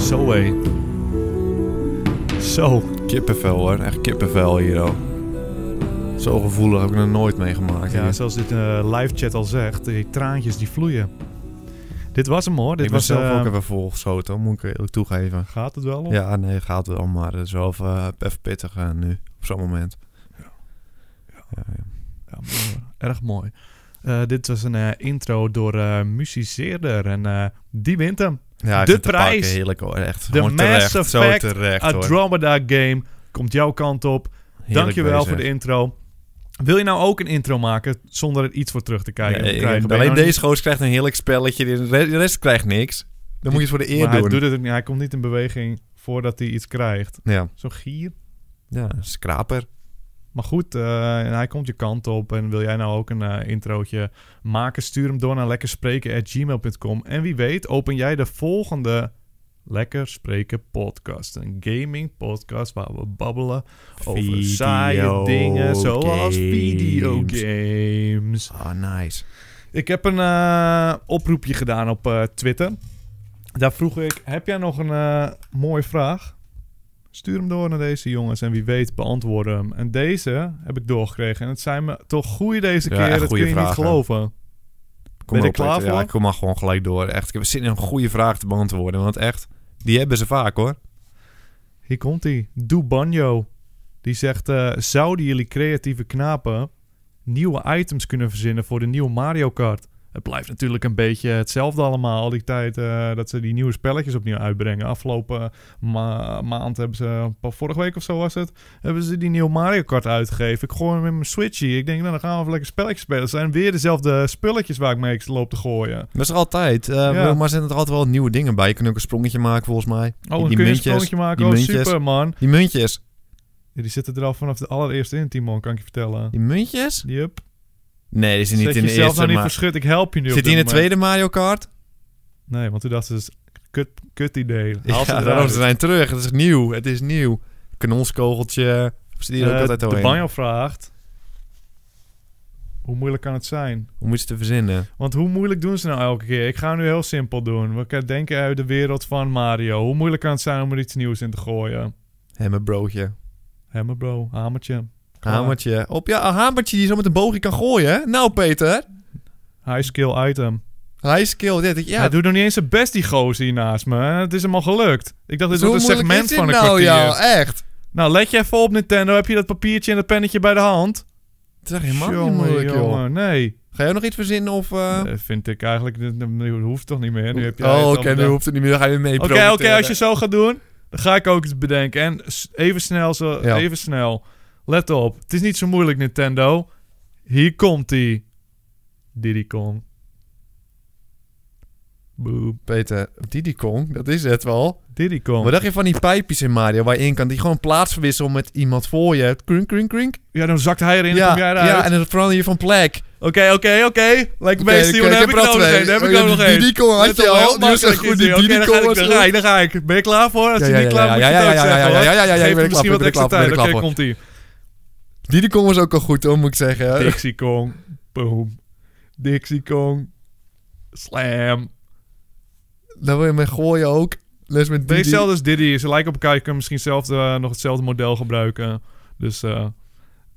Zo hé. Zo. Kippenvel hoor, echt kippenvel hier al. Zo gevoelig heb ik nog nooit meegemaakt. Ja, hier. zoals dit eh, live chat al zegt, die traantjes die vloeien. Dit was hem hoor. Dit ik ben was, zelf eh, ook even volgeschoten, hoor, moet ik eerlijk toegeven. Gaat het wel? Of? Ja, nee, gaat wel, maar het is wel even, eh, even pittig eh, nu, op zo'n moment. Ja, ja. Ja, mooi hoor. Erg mooi. Eh, dit was een eh, intro door eh Musiceerder en eh, die wint hem. Ja, ik De vind het te pakken prijs. Heerlijk hoor, echt. De Gewoon Mass terecht, zo Effect terecht hoor. Andromeda Game komt jouw kant op. Heerlijk Dankjewel bezig. voor de intro. Wil je nou ook een intro maken zonder er iets voor terug te kijken? Nee, te krijgen? Ben je alleen nou deze goos krijgt een heerlijk spelletje, de re- de rest krijgt niks. Dan moet je het voor de niet- eer maar doen. Hij, doet het, ook niet. hij komt niet in beweging voordat hij iets krijgt. Ja, Zo'n gier. ja, een scraper. Maar goed, eh, en hij komt je kant op. En wil jij nou ook een eh, introotje maken? Stuur hem door naar lekkerspreken.gmail.com. En wie weet open jij de volgende Lekker Spreken podcast. Een gaming podcast waar we babbelen over saaie dingen zoals Videogames. videogames. Ah, nice. Ik heb een eh, oproepje gedaan op eh, Twitter. Daar vroeg ik, heb jij nog een eh, mooie vraag? Stuur hem door naar deze jongens en wie weet beantwoorden hem. En deze heb ik doorgekregen. En het zijn me toch goeie deze Ja, keer. echt dat goeie kun je niet vragen. geloven. Kom Ben je op, er klaar Peter. voor? Ja, ik kom maar gewoon gelijk door. Echt, ik heb zin in een goede vraag te beantwoorden. Want echt, die hebben ze vaak hoor. Hier komt hij. Doe Banjo. Die zegt, eh, zouden jullie creatieve knapen nieuwe items kunnen verzinnen voor de nieuwe Mario Kart? Het blijft natuurlijk een beetje hetzelfde allemaal. Al die tijd eh, dat ze die nieuwe spelletjes opnieuw uitbrengen. Afgelopen eh, ma- maand hebben ze, een paar- vorige week of zo was het, hebben ze die nieuwe Mario Kart uitgegeven. Ik gooi hem in mijn Switchie. Ik denk, nou, dan gaan we even lekker spelletjes spelen. Het zijn weer dezelfde spulletjes waar ik mee loop te gooien. Oh, Dat is er altijd. eh, Ja. Maar er zijn er altijd wel nieuwe dingen bij. Je kunt ook een sprongetje maken volgens mij. Oh, dan die kun je een muntjes, sprongetje maken. die Oh, muntjes. super, man. Die muntjes. Ja, die zitten er al vanaf de allereerste in, Timon, kan ik je vertellen. Die muntjes? Yep. Nee, die zitten Zet niet in de jezelf eerste. nou niet maar- verschut, ik help je nu. op Zit dit die in de moment. tweede Mario Kart? Nee, want toen dacht ze, dus, kut, kut idee. Haal Ja, ze daarom, eruit. ze zijn terug. Het is nieuw. Het is nieuw. Kanonskogeltje. Of zit die er ook Eh, altijd al de in? banjo vraagt, hoe moeilijk kan het zijn? Hoe moet je het te verzinnen? Want hoe moeilijk doen ze nou elke keer? Ik ga nu heel simpel doen. We k- denken uit de wereld van Mario. Hoe moeilijk kan het zijn om er iets nieuws in te gooien? Hé, mijn broodje. Hammer bro, hamertje. Klaar. Hamertje. Op ja, een hamertje die je zo met een boogje kan gooien. hè? Nou, Peter. High skill item. Hij skill dit. Ik- Ja, Hij doet nog niet eens zijn best die gozer hier naast me. En Het is hem al gelukt. Ik dacht, dit Zo wordt een Dus moeilijk segment is dit van een nou, kwartier. ja, echt. Nou, let je even op Nintendo. Heb je dat papiertje en dat pennetje bij de hand? Het is echt helemaal Jongen, niet moeilijk, joh. jongen, Nee. Ga jij nog iets verzinnen of... eh, Eh, vind ik eigenlijk, dat- dat hoeft toch niet meer. Nu heb jij het oh, al oké, nu bedacht. hoeft het niet meer. Dan ga je mee Oké, oké, als je zo gaat doen, dan ga ik ook iets bedenken. En s- even snel, zo, Ja. even snel. Let op, het is niet zo moeilijk, Nintendo. Hier komt ie. Diddy Kong. Boep. Peter, Diddy Kong, dat is het wel. Diddy Kong. Wat dacht je van die pijpjes in Mario waar je in kan? Die gewoon plaats verwisselen met iemand voor je. Krunk, krunk, krunk. Ja, dan zakt hij erin en Ja, kom jij eruit. ja, en dan verander je van plek. Oké, oké, oké. Lijkt me Oké, meestal, oké, daar heb ik er al nog twee. één. Daar heb ik Oké, ook nog die- één. Die Kong had Let je op, heel al. Die was echt makkelijk goed. is die. Die Oké, Diddy dan ga Kong ik- was dan ga goed. ik, dan ga ik. Ben je klaar voor? Als je niet klaar bent, moet je het ook zeggen, hoor. ja, ja, ja, Geef ik ben hem er klaar misschien voor, wat ik ben extra er klaar voor, ik ben tijd. er klaar Oké, voor. Eh. komt ie. Diddy Kong was ook al goed hoor, moet ik zeggen. Dixie Kong. Boom. Dixie Kong. Slam. Daar wil je mee gooien ook. Les Nee, met Diddy. hetzelfde als dus Diddy. Ze lijken op elkaar. Je kunt misschien zelf, eh, nog hetzelfde model gebruiken. Dus eh,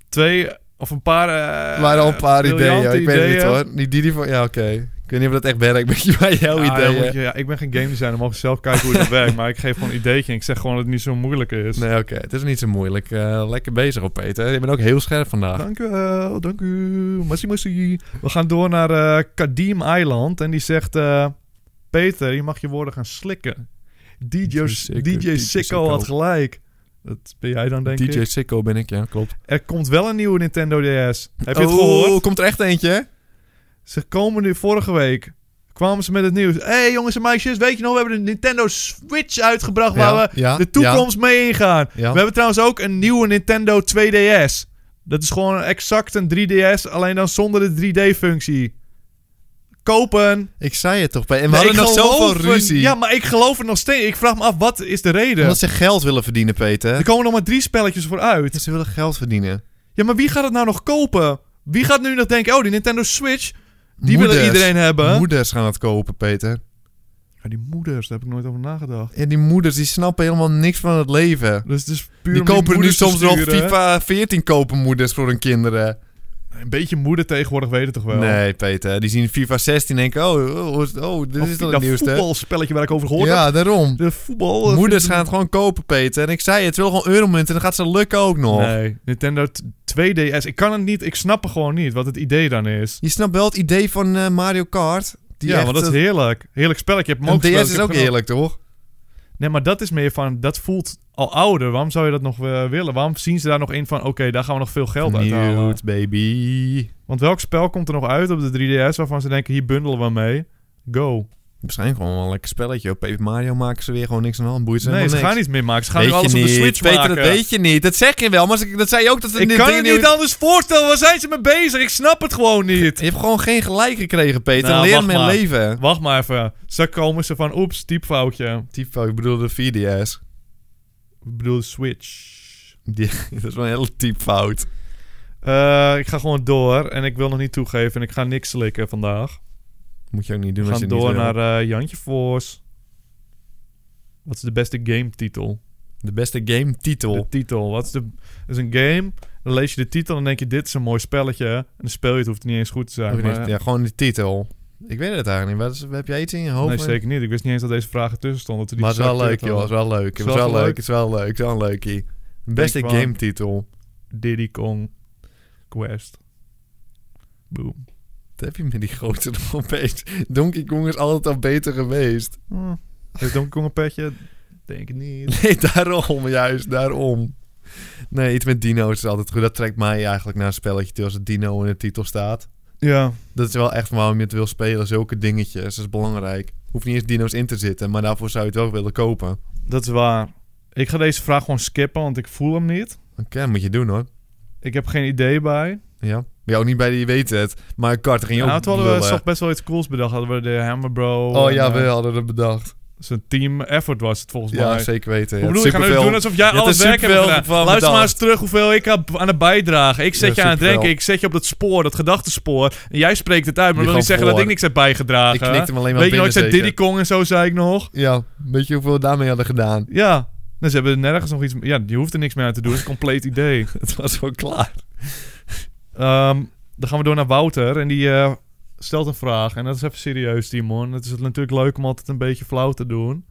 twee of een paar... eh, Er waren al een paar briljante ideeën. Ik weet het niet ideeën. hoor. Die Diddy van... Ja, oké. Ik weet niet of dat echt werkt met je- bij jouw Ja, dan ideeën. moet je- ja, ik ben geen game designer, mogen zelf kijken hoe het werkt. Maar ik geef gewoon een ideetje en ik zeg gewoon dat het niet zo moeilijk is. Nee, oké. Het is niet zo moeilijk. Eh, lekker bezig op Peter. Je bent ook heel scherp vandaag. Dank u wel, dank u. Massie, massie. We gaan door naar eh Kadim Eiland. En die zegt... eh, Peter, je mag je woorden gaan slikken. DJ, DJ Sicko- Sicko, DJ Sicko had gelijk. Dat ben jij dan, denk DJ ik. Sicko ben ik, ja, klopt. Er komt wel een nieuwe Nintendo DS. Heb je het Oh, gehoord? komt er echt eentje? Ze komen nu vorige week... kwamen ze met het nieuws. Hé, hey, jongens en meisjes, weet je nog? We hebben de Nintendo Switch uitgebracht... waar we ja, de toekomst mee ingaan. Ja, We hebben trouwens ook een nieuwe Nintendo 2DS. Dat is gewoon exact een 3DS, alleen dan zonder de 3D-functie. Kopen. Ik zei het toch bij. En we Nee, hadden ik nog geloof zoveel het- ruzie. Ja, maar ik geloof het nog steeds. Ik vraag me af, wat is de reden? Omdat ze geld willen verdienen, Peter. Er komen nog maar drie spelletjes voor uit. Ze willen geld verdienen. Ja, maar wie gaat het nou nog kopen? Wie gaat nu nog denken, oh, die Nintendo Switch, die wil Moeders. iedereen hebben. Moeders gaan dat kopen, Peter. Ja, die moeders, daar heb ik nooit over nagedacht. En die moeders die snappen helemaal niks van het leven. Dus het is puur Die om die kopen nu moeders te soms nog sturen. FIFA 14 kopen moeders voor hun kinderen. Een beetje moeder tegenwoordig weten toch wel. Nee, Peter. Die zien FIFA 16 en denken, oh, oh, oh, dit Of is toch het dat nieuwste. voetbalspelletje waar ik over gehoord heb. Ja, daarom. De voetbal. Moeders gaan het gewoon kopen, Peter. En ik zei, het wil gewoon euromunt en dan gaat ze lukken ook nog. Nee, Nintendo t- 2DS. Ik kan het niet, ik snap er gewoon niet wat het idee dan is. Je snapt wel het idee van eh, Mario Kart. Die ja, echt, want dat is eh, heerlijk. Heerlijk spelletje. Ik heb hem een ook gespeeld. DS Ik is heb ook gewoon- heerlijk, toch? Nee, maar dat is meer van, dat voelt al ouder. Waarom zou je dat nog eh, willen? Waarom zien ze daar nog in van, oké, daar gaan we nog veel geld uit halen? Nieuws, baby. Want welk spel komt er nog uit op de 3DS waarvan ze denken, hier bundelen we mee? Go. Waarschijnlijk gewoon wel een lekker spelletje. Op Paper Mario maken ze weer gewoon niks aan de hand. Boeit ze Nee, ze helemaal gaan niks. niet meer maken. Ze gaan nu Weet je alles op de niet. Switch Peter, maken. dat weet je niet. Dat zeg je wel, maar ze- dat zei je ook. Dat ze ik dit kan ding het niet anders voorstellen. Waar zijn ze mee bezig? Ik snap het gewoon niet. Je hebt gewoon geen gelijk gekregen, Peter. Nou, Leer wacht mijn maar. leven. Wacht maar even. Zo komen ze van, oeps, typfoutje. Typo, ik bedoel de 4DS. Ik bedoel, Switch. Die, dat is wel een hele typfout. Eh, ik ga gewoon door en ik wil nog niet toegeven en ik ga niks slikken vandaag. Moet je ook niet doen We als je gaan het niet door wil. naar eh, Jantje Voors. Wat is de beste game-titel? De beste game De titel. titel. Wat is de. Dat is een game. Dan lees je de titel en dan denk je: dit is een mooi spelletje. En dan speel je het, hoeft niet eens goed te zijn. Maar, Ja, gewoon de titel. Ik weet het eigenlijk niet. Wat is- heb jij iets in je hoofd? nee, zeker niet. Ik wist niet eens dat deze vragen tussen stonden. Dat we die Maar het is wel exact leuk, joh. hadden. Het is wel leuk. Het is wel leuk. Het is wel leuk. Het is wel een leukie. Beste Denk wel. game titel. Diddy Kong Quest. Boom. Dat heb je met die grote nog opeens. Donkey Kong is altijd al beter geweest. Hm. Heeft Donkey Kong een petje? Denk ik niet. Nee, daarom. Juist, daarom. Nee, iets met dino's is altijd goed. Dat trekt mij eigenlijk naar een spelletje toe als het dino in de titel staat. Ja. Dat is wel echt waarom je het wil spelen. Zulke dingetjes. Dat is belangrijk. Hoeft niet eens dino's in te zitten, maar daarvoor zou je het wel willen kopen. Oké, Dat is waar. Ik ga deze vraag gewoon skippen, want ik voel hem niet. dat moet je doen hoor. Ik heb geen idee bij. Ja. Bij jou niet bij die weet het. Maar Kart ging je Ja, ook toen hadden we lullen. toch best wel iets cools bedacht. Hadden we de Hammer Bro. eh, Oh en, ja, eh, we hadden het bedacht. Zijn team effort was het volgens Ja, mij. zeker weten. Ik Ja, bedoel, ik ga nu superveel- doen alsof jij hebt alles er werk hebt superveel gedaan. van Luister bedaald. maar eens terug hoeveel ik heb aan het bijdragen. Ik zet Ja, je aan het superveel. denken. Ik zet je op dat spoor, dat gedachtenspoor. En jij spreekt het uit, maar Je dat wil niet gaat zeggen dat voor. ik niks heb bijgedragen. Ik knikte hem alleen maar Weet je nog, binnen ik zei zeker. Diddy Kong en zo zei ik nog. Ja, weet je hoeveel we daarmee hadden gedaan? Ja. Nou, ze hebben nergens nog iets... Ja, je hoeft er niks meer aan te doen. Het is een compleet idee. Het was wel klaar. Ehm, dan gaan we door naar Wouter. En die eh, stelt een vraag. En dat is even serieus, Timon. Het is natuurlijk leuk om altijd een beetje flauw te doen.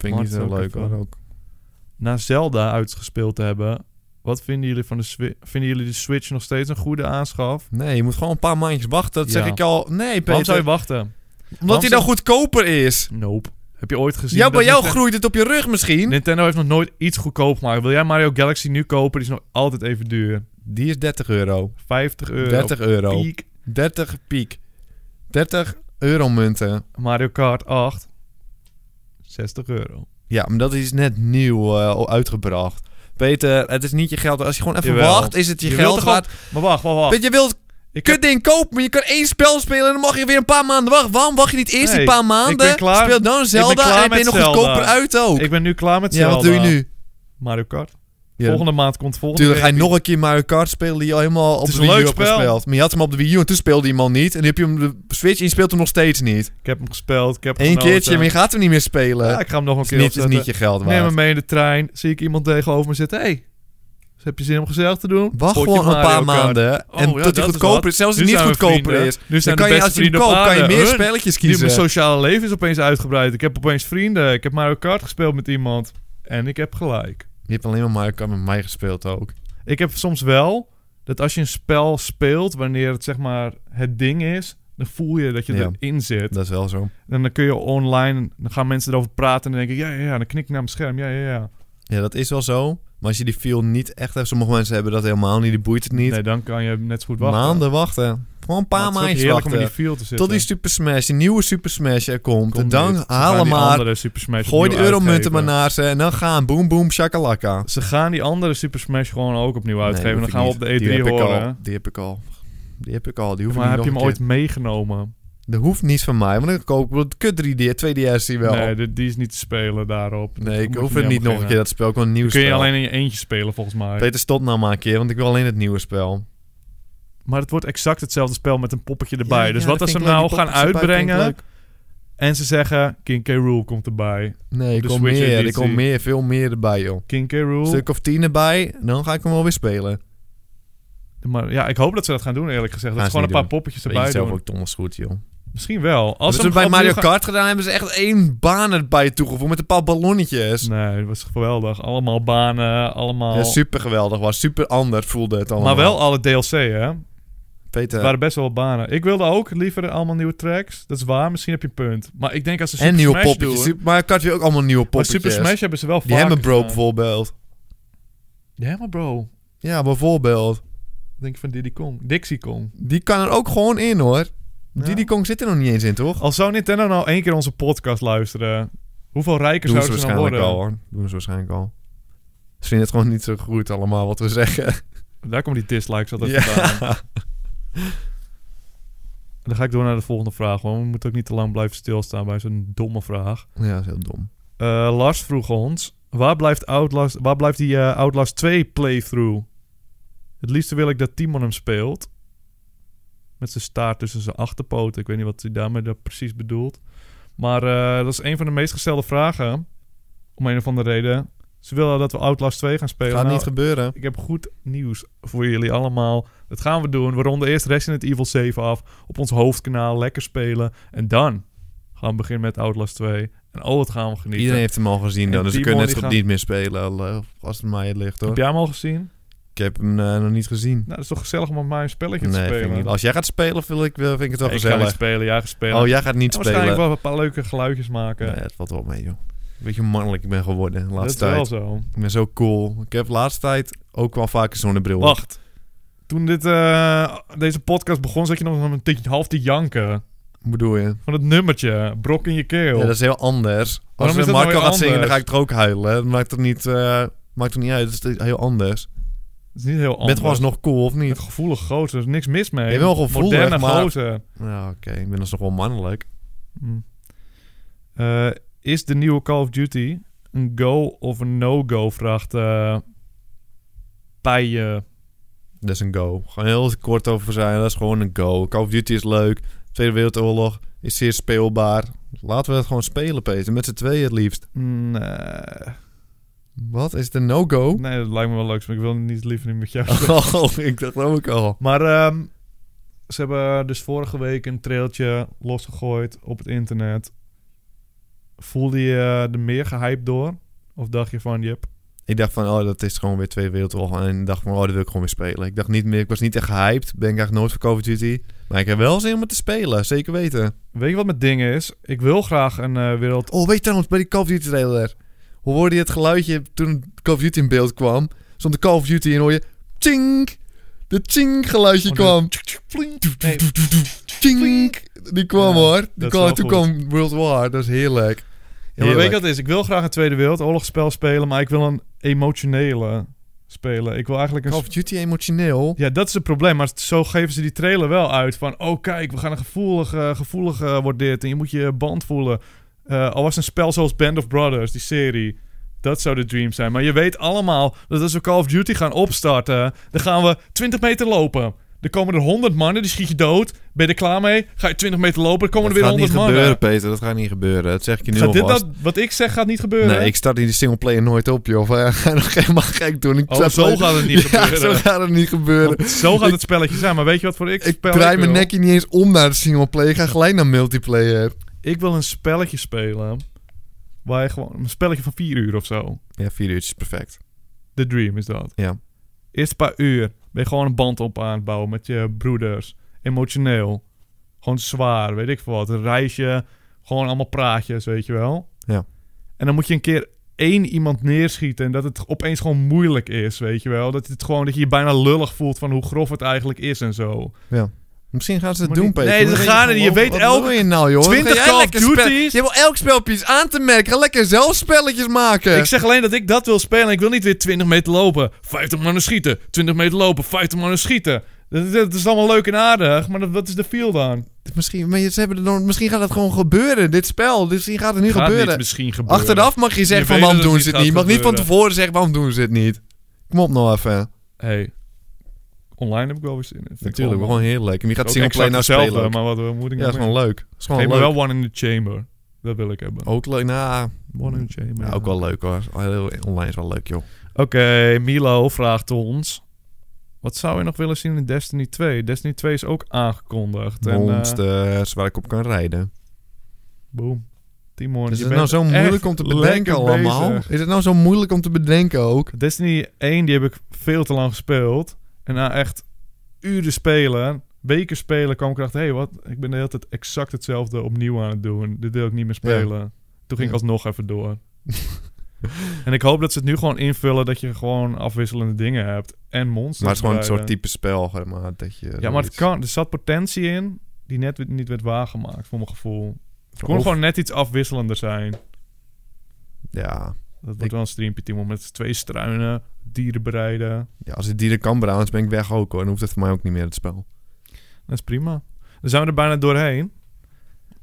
Vind ik niet zo leuk hoor. Ook. Na Zelda uitgespeeld te hebben. Wat vinden jullie van de Switch? Vinden jullie de Switch nog steeds een goede aanschaf? Nee, je moet gewoon een paar maandjes wachten. Dat Ja. zeg ik al. Nee, Peter. Waarom zou je wachten? Omdat hij dan zou- goedkoper is. Nope. Heb je ooit gezien? Ja, dat bij jou Ninten- groeit het op je rug misschien. Nintendo heeft nog nooit iets goedkoop gemaakt. Wil jij Mario Galaxy nu kopen? Die is nog altijd even duur. Die is 30 euro. 50 euro. 30 euro. Piek. 30 piek. 30 euro munten. Mario Kart 8. 60 euro. Ja, maar dat is net nieuw eh, uitgebracht. Peter, het is niet je geld. Als je gewoon even Jawel. wacht, is het je, Je wilt geld toch gewoon- waard. Maar wacht, wacht, wacht. Weet je, wilt Ik heb- kut ding kopen, maar je kan één spel spelen en dan mag je weer een paar maanden wachten. Waarom wacht je niet eerst Nee, die paar ik maanden? ben klaar- Speel dan Zelda klaar en ben je met nog Zelda. goedkoper uit ook. Ik ben nu klaar met ja, Zelda. wat doe je nu? Mario Kart. Ja, Volgende maand komt volgende Tuurlijk ga je game. nog een keer Mario Kart spelen die je al helemaal op Het is de een Wii U leuk hebt spel. gespeeld. Maar je had hem op de Wii U en toen speelde hij hem al niet. En nu heb je hem de Switch en je speelt hem nog steeds niet. Ik heb hem gespeeld. Ik heb Eén genoten. keertje, maar je gaat hem niet meer spelen. Ja, ik ga hem nog een het keer is niet, het is opzetten. niet je geld Neem waard. me mee in de trein. Zie ik iemand tegenover me zitten. hey, Dus heb je zin om gezellig te doen? Wacht Potje gewoon een Mario paar Kart. maanden. Oh, en ja, tot die dat is goedkoper wat. is. Zelfs Nu die niet zijn we goedkoper vrienden. is. Nu Dan zijn kan de je, beste als je hem vrienden op koopt, kan je aarde. meer Hun- spelletjes Die- Mijn kiezen. sociale leven is opeens uitgebreid. Ik heb opeens vrienden. Ik heb Mario Kart gespeeld met iemand. En ik heb gelijk. Je hebt alleen maar Mario Kart met mij gespeeld ook. Ik heb soms wel dat als je een spel speelt, wanneer het zeg maar het ding is, dan voel je dat je Ja. erin zit. Dat is wel zo. En dan kun je online, dan gaan mensen erover praten en dan denk ik, ja, ja, ja, dan knik ik naar mijn scherm, ja, ja, ja. Ja, dat is wel zo. Maar als je die feel niet echt hebt... Sommige mensen hebben dat helemaal niet. Die boeit het niet. Nee, dan kan je net zo goed wachten. Maanden wachten. Gewoon een Maar paar het is ook maandjes heerlijk om in wachten. die feel te zitten. Tot die Super Smash, die nieuwe Super Smash er komt. Kom en dan eh, niet. Ze gaan halen die maar... andere Super Smash Gooi de opnieuw euromunten uitgeven. maar naar ze. En dan gaan. Boom, boom, shakalaka. Ze gaan die andere Super Smash gewoon ook opnieuw uitgeven. Nee, dan hoef gaan we ik op de niet. E3 Die heb ik al. horen. Die heb ik al. Die heb ik al. Die hè? hoef Maar heb ik niet je hem nog een ooit keer. meegenomen? Dat hoeft niet van mij. Want ik koop ik kut 3D, 2DS hier wel. Nee, Nee, dit- die is niet te spelen daarop. ik Moet hoef je het niet nog een beginnen. keer. Dat spel gewoon een nieuw Dan kun je spel. alleen in je eentje spelen, volgens mij. Peter, stop nou maar een keer. Want ik wil alleen het nieuwe spel. Maar het wordt exact hetzelfde spel met een poppetje erbij. Ja, dus ja, wat dat als ze vind hem ik leuk. nou Die gaan poppetjes erbij vind ik uitbrengen leuk. en ze zeggen... King K. Rool komt erbij. Nee, ik De kom Switch meer. Ik editie. kom meer. Veel meer erbij, joh. King K. Een Rool. stuk of tien erbij. Dan ga ik hem wel weer spelen. Maar ja, ik hoop dat ze dat gaan doen, eerlijk gezegd. Dat Gaan ze ze gewoon een paar niet doen. poppetjes Weet je erbij zelf doen. ook donders goed, joh. Misschien wel. Als Als ze we hem bij opnieuw Mario gaan- Kart gedaan hebben ze echt één baan erbij toegevoegd met een paar ballonnetjes. Nee, dat was geweldig. Allemaal banen, allemaal... Ja, super geweldig was. Super anders voelde het allemaal. Nou. maar wel alle DLC, hè? Peter. Het waren best wel wat banen. Ik wilde ook liever allemaal nieuwe tracks. Dat is waar, misschien heb je een punt. Maar ik denk als ze Super en nieuwe Smash poppetjes. doen... Super, maar Kart weer ook allemaal nieuwe Maar poppetjes. Super Smash hebben ze wel Die hebben bro voor. bijvoorbeeld. Die Hammer Bro. Ja, bijvoorbeeld. Ik Denk van Diddy Kong. Dixie Kong. Die kan er ook gewoon in hoor. Ja. Diddy Kong zit er nog niet eens in, toch? Al zou Nintendo nou één keer onze podcast luisteren... Hoeveel rijker Doen ze zouden ze dan waarschijnlijk worden? al hoor. Doen ze waarschijnlijk al. Ze vinden het gewoon niet zo goed allemaal wat we zeggen. Daar komen die dislikes altijd Ja. vandaan. En dan ga ik door naar de volgende vraag. Want we moeten ook niet te lang blijven stilstaan bij zo'n domme vraag. Ja, dat is heel dom. Eh, Lars vroeg ons... Waar blijft, Outlast, waar blijft die eh, Outlast 2 playthrough? Het liefste wil ik dat Timon hem speelt. Met zijn staart tussen zijn achterpoten. Ik weet niet wat hij daarmee dat precies bedoelt. Maar eh, dat is een van de meest gestelde vragen. Om een of andere reden. Ze willen dat we Outlast 2 gaan spelen. Gaat Nou, niet gebeuren. ik heb goed nieuws voor jullie allemaal. Dat gaan we doen. We ronden eerst Resident Evil 7 af. Op ons hoofdkanaal. Lekker spelen. En dan gaan we beginnen met Outlast 2. En oh, wat gaan we genieten. Iedereen heeft hem al gezien dan, En dus we Timon, kunnen die net zo goed gaan- niet meer spelen eh, als het mij ligt hoor. Heb jij hem al gezien? Ik heb hem eh, nog niet gezien. Nou, dat is toch gezellig om met mij een spelletje te Nee, spelen. vind ik niet. Als jij gaat spelen, vind ik, eh, vind ik het wel ik ga niet gezellig. spelen. Jij gaat spelen. Oh, jij gaat niet En spelen. waarschijnlijk wel een paar leuke geluidjes maken. Nee, het valt wel mee, joh. Weet je hoe mannelijk ik ben geworden dat de is laatste wel tijd? zo. Ik ben zo cool. Ik heb de laatste tijd ook wel vaker zonnebril. op. Wacht. Toen dit, eh, deze podcast begon, zat je nog een tikje half te janken. Hoe bedoel je? Van het nummertje. Brok in je keel. Ja, dat is heel anders. Waarom Als is we dat nou Marco weer gaat zingen, dan anders? ga ik er ook huilen. Dat maakt toch niet, eh, maakt toch niet uit. Het is heel anders. is niet heel Je anders. Bent gewoon alsnog cool, of Met niet? gevoelige gozer, er is niks mis mee. Ik ben wel gevoelig, Moderne maar- gozer. Ja, oké. Ik ben alsnog wel mannelijk. Hm. Eh, is de nieuwe Call of Duty een go of een no-go? Vraagt eh Pijen. Dat is een go. Gewoon heel kort over zijn. Dat is gewoon een go. Call of Duty is leuk. Tweede Wereldoorlog is zeer speelbaar. Laten we het gewoon spelen, Peter. Met z'n tweeën het liefst. Nee. Wat? Is het een no-go? nee, dat lijkt me wel leuk, maar ik wil niet liever niet met jou. Oh, ik dacht ook al. Maar ehm, ze hebben dus vorige week een trailtje losgegooid op het internet. Voelde je eh, er meer gehyped door? Of dacht je van, jep, Ik dacht van, oh, dat is gewoon weer Tweede Wereldoorlog. En ik dacht van, oh, dat wil ik gewoon weer spelen. Ik dacht niet meer, ik was niet echt gehyped. Ben ik eigenlijk nooit voor Call of Duty. Maar ik heb wel zin om het te spelen, zeker weten. weet je wat mijn ding is? Ik wil graag een eh, wereld Oh, weet je trouwens, bij die Call of Duty trailer. Hoe hoorde je het geluidje toen Call of Duty in beeld kwam? Stond de Call of Duty en hoor je... Tink! De tink geluidje Oh, nee. kwam. Nee. Tink! Die kwam Ja, hoor. Die dat is kwam, wel toen goed. kwam World War. Dat is heerlijk. Ja, maar weet je Heerlijk. wat het is? Ik wil graag een Tweede Wereldoorlogsspel spelen, maar ik wil een emotionele spelen. Ik wil eigenlijk een... Call of Duty emotioneel. Ja, dat is het probleem. Maar zo geven ze die trailer wel uit van... Oh, kijk, we gaan een gevoelige... Gevoelige wordt dit en je moet je band voelen. Eh, al was een spel zoals Band of Brothers, die serie... Dat zou de dream zijn. Maar je weet allemaal dat als we Call of Duty gaan opstarten... Dan gaan we 20 meter lopen. Er komen er 100 mannen, die schiet je dood. Ben je er klaar mee? Ga je 20 meter lopen, dan komen dat er weer gaat 100 niet mannen. gebeuren, Peter. Dat gaat niet gebeuren. Dat zeg ik je nu Gaat dit alvast. dat, wat ik zeg gaat niet gebeuren. Nee, ik start die singleplayer nooit op, joh. Ga ga nog helemaal gek doen. Ik Oh, zat zo alleen- gaat het niet Ja, gebeuren. zo gaat het niet gebeuren. Want zo gaat het spelletje zijn. Maar weet je wat voor ik Ik spel draai ik mijn wil? nekje niet eens om naar de singleplayer. Ik ga gelijk naar multiplayer. Ik wil een spelletje spelen. Waar je gewoon... Een spelletje van 4 uur of zo. Ja, vier uurtjes perfect. The Dream is dat. Ja. Eerst een paar uur ben je gewoon een band op aan het bouwen met je broeders. Emotioneel. Gewoon zwaar, weet ik veel wat. Een reisje. Gewoon allemaal praatjes, weet je wel. Ja. En dan moet je een keer één iemand neerschieten. En dat het opeens gewoon moeilijk is, weet je wel. Dat, het gewoon, dat je je bijna lullig voelt van hoe grof het eigenlijk is en zo. Misschien gaan ze het Maar doen, niet- Peter. Nee, ze Dan gaan denk er je niet. Je van, weet wat elk wil je nou, joh? 20 Ga jij Call of lekker spel- Duty's. Je wil elk spelpje iets aan te merken. Ga lekker zelf spelletjes maken. Ik zeg alleen dat ik dat wil spelen. Ik wil niet weer 20 meter lopen, 50 mannen schieten, 20 meter lopen, 50 mannen schieten. Dat, dat is allemaal leuk en aardig, maar dat, dat is de feel dan. Misschien, maar ze hebben er nog- misschien gaat het gewoon gebeuren, dit spel. Dus Misschien gaat het nu Gaat gebeuren. niet misschien gebeuren. Achteraf mag je zeggen Je van weet waarom dat het doen niet ze het gaat niet. Je mag niet van gebeuren. tevoren zeggen waarom doen ze het niet. Kom op nou even. Hey, online heb ik wel weer zin in. Vind ik Natuurlijk, wel gewoon heerlijk. En wie gaat Ook singleplayer exact nou hetzelfde, spelen? ook? Maar wat moet ik nou Ja, dat is mee? gewoon leuk. Dat is gewoon Geef me leuk. wel One in the Chamber. Dat wil ik hebben. Ook leuk, nou. One in the Chamber. ja, ja. ook wel leuk hoor. Heel- Online is wel leuk, joh. Oké, Milo vraagt ons. Wat zou je nog willen zien in Destiny 2? Destiny 2 is ook aangekondigd. En, eh, Monsters, waar ik op kan rijden. boom. Timon, je Is het nou bent zo echt moeilijk om te lekker bedenken allemaal? bezig. Is het nou zo moeilijk om te bedenken ook? Destiny 1 die heb ik veel te lang gespeeld. En na echt uren spelen, weken spelen, kwam ik erachter... hé, hey, wat? Ik ben de hele tijd exact hetzelfde opnieuw aan het doen. Dit wil ik niet meer spelen. Toen ging ik Ja. alsnog even door. en ik hoop dat ze het nu gewoon invullen... dat je gewoon afwisselende dingen hebt. En monsters. Maar het is gewoon een erbij. soort type spel, zeg maar. Dat je Ja, maar het zoiets- kan. Er zat potentie in die net weer- niet werd waargemaakt, voor mijn gevoel. Het kon Of- gewoon net iets afwisselender zijn. Ja. Dat wordt Ik- wel een streampje, Timo. Met twee struinen, dieren bereiden... ja, als het dieren kan branden, ben ik weg ook hoor. Dan hoeft het voor mij ook niet meer, het spel. Dat is prima. Dan zijn we er bijna doorheen.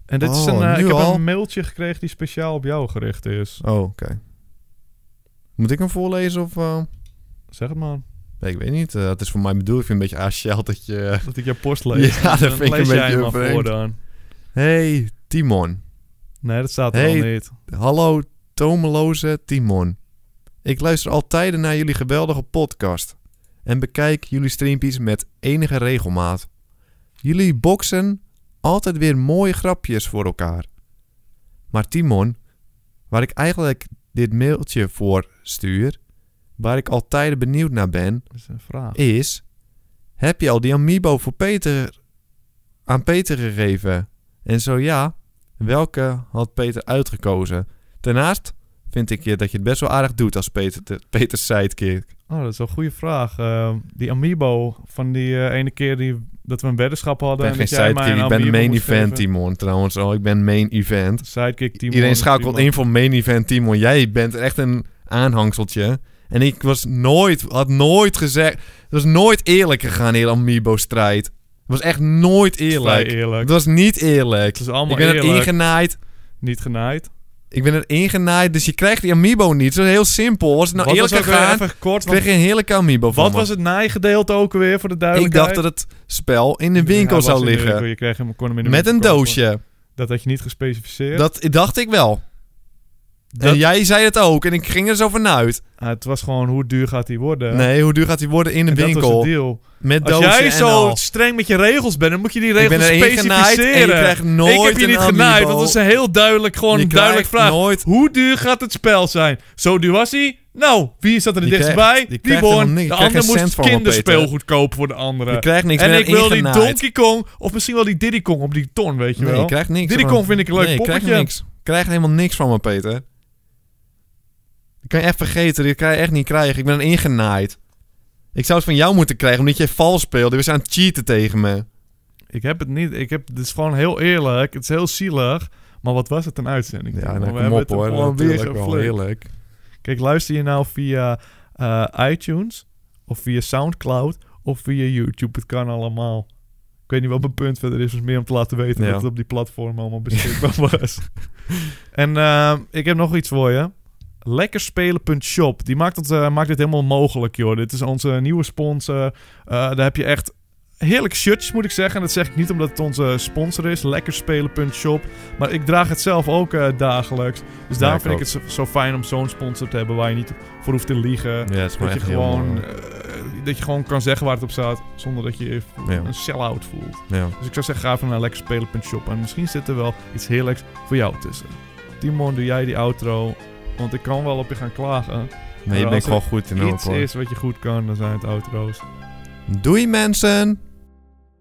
En dit is Oh, een, eh, nu ik al? heb een mailtje gekregen die speciaal op jou gericht is. Oh, oké. Moet ik hem voorlezen of... eh? Zeg het maar. Nee, ik weet niet. eh, het is voor mij bedoeld. Ik vind het een beetje asociaal dat je... Dat ik jouw post lees. Ja, dat Dan vind ik een lees jij beetje hem maar vreemd. voor dan. Hey, Timon. Nee, dat staat er Hey. al niet. Hallo, tomeloze Timon. Ik luister al tijden naar jullie geweldige podcast. En bekijk jullie streampjes met enige regelmaat. Jullie boksen altijd weer mooie grapjes voor elkaar. Maar Timon, waar ik eigenlijk dit mailtje voor stuur... waar ik al tijden benieuwd naar ben... Dat is een vraag. is... Heb je al die amiibo voor Peter, aan Peter gegeven? En zo ja, welke had Peter uitgekozen? Daarnaast vind ik je dat je het best wel aardig doet als Peter, de- Peters sidekick. Oh, dat is wel een goede vraag. Ehm, die Amiibo van die eh, ene keer die, dat we een weddenschap Ik hadden. ben en geen dat jij mij sidekick, een ik ben de Amiibo main moest event geven. Timon trouwens al. Ik ben main event. Sidekick team. Iedereen schakelt in voor main event Timon. Jij bent echt een aanhangseltje. En ik was nooit, had nooit gezegd... Het was nooit eerlijk gegaan, heel Amiibo-strijd. Het was echt nooit eerlijk. eerlijk. Het was niet eerlijk. Het is allemaal Ik ben er eerlijk. ingenaaid. Niet genaaid. Ik ben er ingenaaid, dus je krijgt die amiibo niet. Zo heel simpel. Was het nou Wat was eerlijk ook weer gegaan, Even kort, want kreeg je een heerlijke amiibo van wat me. was het naaigedeelte ook alweer voor de Ik duidelijkheid? dacht dat het spel in de Hij winkel was zou in de liggen. winkel, je kreeg hem, kon hem in de Met winkel een kopen. doosje. Dat had je niet gespecificeerd. Dat dacht ik wel. Dat- En jij zei het ook. En ik ging er zo vanuit. Ah, het was gewoon hoe duur gaat die worden. Nee, hoe duur gaat die worden in de En Dat was winkel? het deal. Met Als doosje jij en zo al. streng met je regels bent, dan moet je die Ik regels ben er ingenaaid en specificeren. je krijgt nooit ik heb je een niet genaaid, amiibo. want dat is een heel duidelijk, gewoon Je een duidelijk krijgt vraag. nooit... Hoe duur gaat het spel zijn? Zo duur was hij? Nou, wie zat er het Je dichtstbij? krijgt- je Die krijgt helemaal won. niks. Je De krijgt ander geen cent moest van me, kinderspeelgoed kopen voor de andere. Je krijgt niks. en ben ik wil die ingenaaid. Donkey Kong, of misschien wel die Diddy Kong op die ton, weet je Nee, wel. je krijgt niks. Diddy van- Kong vind ik een leuk nee, ik poppetje. krijg niks. Ik krijg helemaal niks van me, Peter. Dat kan je echt vergeten. Dit kan je echt niet krijgen. Ik ben een ingenaaid. Ik zou het van jou moeten krijgen, omdat je vals speelde. We zijn aan het cheaten tegen me. Ik heb het niet. Ik heb, het is gewoon heel eerlijk. Het is heel zielig. Maar wat was het een uitzending? Ja, Maar nou, we kom hebben op het hoor. gewoon weer Natuurlijk wel, geflikt. heerlijk. Kijk, luister je nou via eh, iTunes of via Soundcloud of via YouTube? Het kan allemaal. Ik weet niet wat mijn punt verder is. Dus meer om te laten weten Ja. dat het op die platformen allemaal beschikbaar was. En ehm, ik heb nog iets voor je. Lekkerspelen.shop. Die maakt, het, eh, maakt dit helemaal mogelijk, joh. Dit is onze nieuwe sponsor. Eh, daar heb je echt Heerlijk shirtjes moet ik zeggen. En dat zeg ik niet omdat het onze sponsor is. Lekkerspelen.shop. Maar ik draag het zelf ook eh, dagelijks. Dus daarom ik vind ik het zo, zo fijn om zo'n sponsor te hebben waar je niet voor hoeft te liegen. Ja, het is Dat gewoon je echt heel gewoon, mooi. eh, dat je gewoon kan zeggen waar het op staat. Zonder dat je je Ja. een sell-out voelt. Ja. Dus ik zou zeggen, ga even naar lekkerspelen.shop. En misschien zit er wel iets heerlijks voor jou tussen. Timon, doe jij die outro. Want ik kan wel op je gaan klagen. Nee, je als bent gewoon goed in Iets elkaar. is wat je goed kan, dan zijn het outro's. Doei mensen!